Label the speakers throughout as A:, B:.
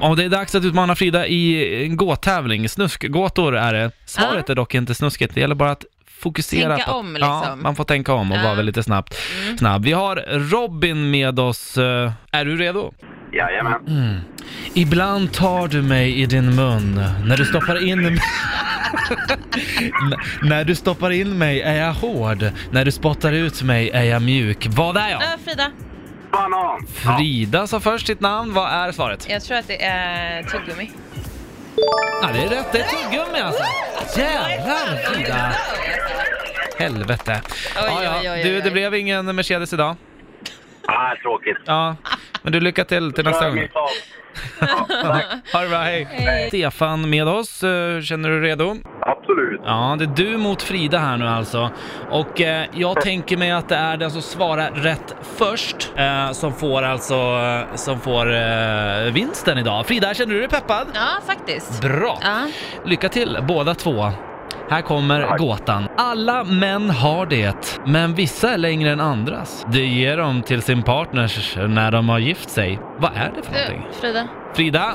A: Ja, det är dags att utmana Frida i en gåttävling. Snuskgåtor är det. Svaret är dock inte snuskigt, det gäller bara att fokusera
B: Tänka
A: på...
B: om, liksom.
A: Ja, man får tänka om och
B: Ja. Mm.
A: vara väldigt snabbt. snabb. Vi har Robin med oss. Eh, Är du redo?
C: Jajamän.
A: Mm. Ibland tar du mig i din mun när du stoppar in N- När du stoppar in mig är jag hård, när du spottar ut mig är jag mjuk. Vad är jag?
B: Äh, Frida,
C: Banan. Ja.
A: Frida sa först sitt namn, vad är svaret?
B: jag tror att det är tuggummi.
A: Ja, det är rätt, det är tuggummi alltså! Jävlar Frida! Helvete. Ja, ja.
B: oj, oj,
A: Du,
B: oj.
A: det blev ingen Mercedes idag.
C: Ah, tråkigt.
A: Ja, men du lycka till till nästa
C: Kör
A: gång.
C: mitt tag.
A: Ha det bra, hej! Stefan med oss, Eh, känner du redo?
C: Absolut.
A: Ja, det är du mot Frida här nu alltså. Och eh, jag tänker mig att det är den som svarar rätt först eh, som får alltså, eh, som får eh, vinsten idag. Frida, känner du dig peppad?
B: Ja, faktiskt.
A: Bra!
B: Ja.
A: Lycka till båda två. Här kommer
C: Tack.
A: gåtan. Alla män har det, men vissa är längre än andras. Det ger de till sin partners när de har gift sig. Vad är det för någonting?
B: Du, Frida,
A: Frida,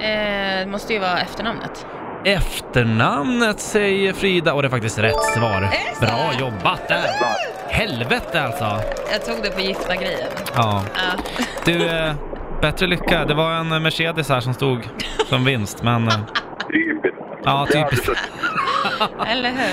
B: eh, det måste ju vara efternamnet.
A: Efternamnet säger Frida och det är faktiskt rätt svar.
B: det så?
A: Bra jobbat där! Helvete alltså!
B: Jag tog det på gifta grejen.
A: Ja.
B: Ja.
A: Du, eh, bättre lycka. Det var en Mercedes här som stod som vinst, men eh, ja,
C: Typiskt.
A: typ.
C: Det hade
A: typiskt.
C: suttit
B: Eller hur?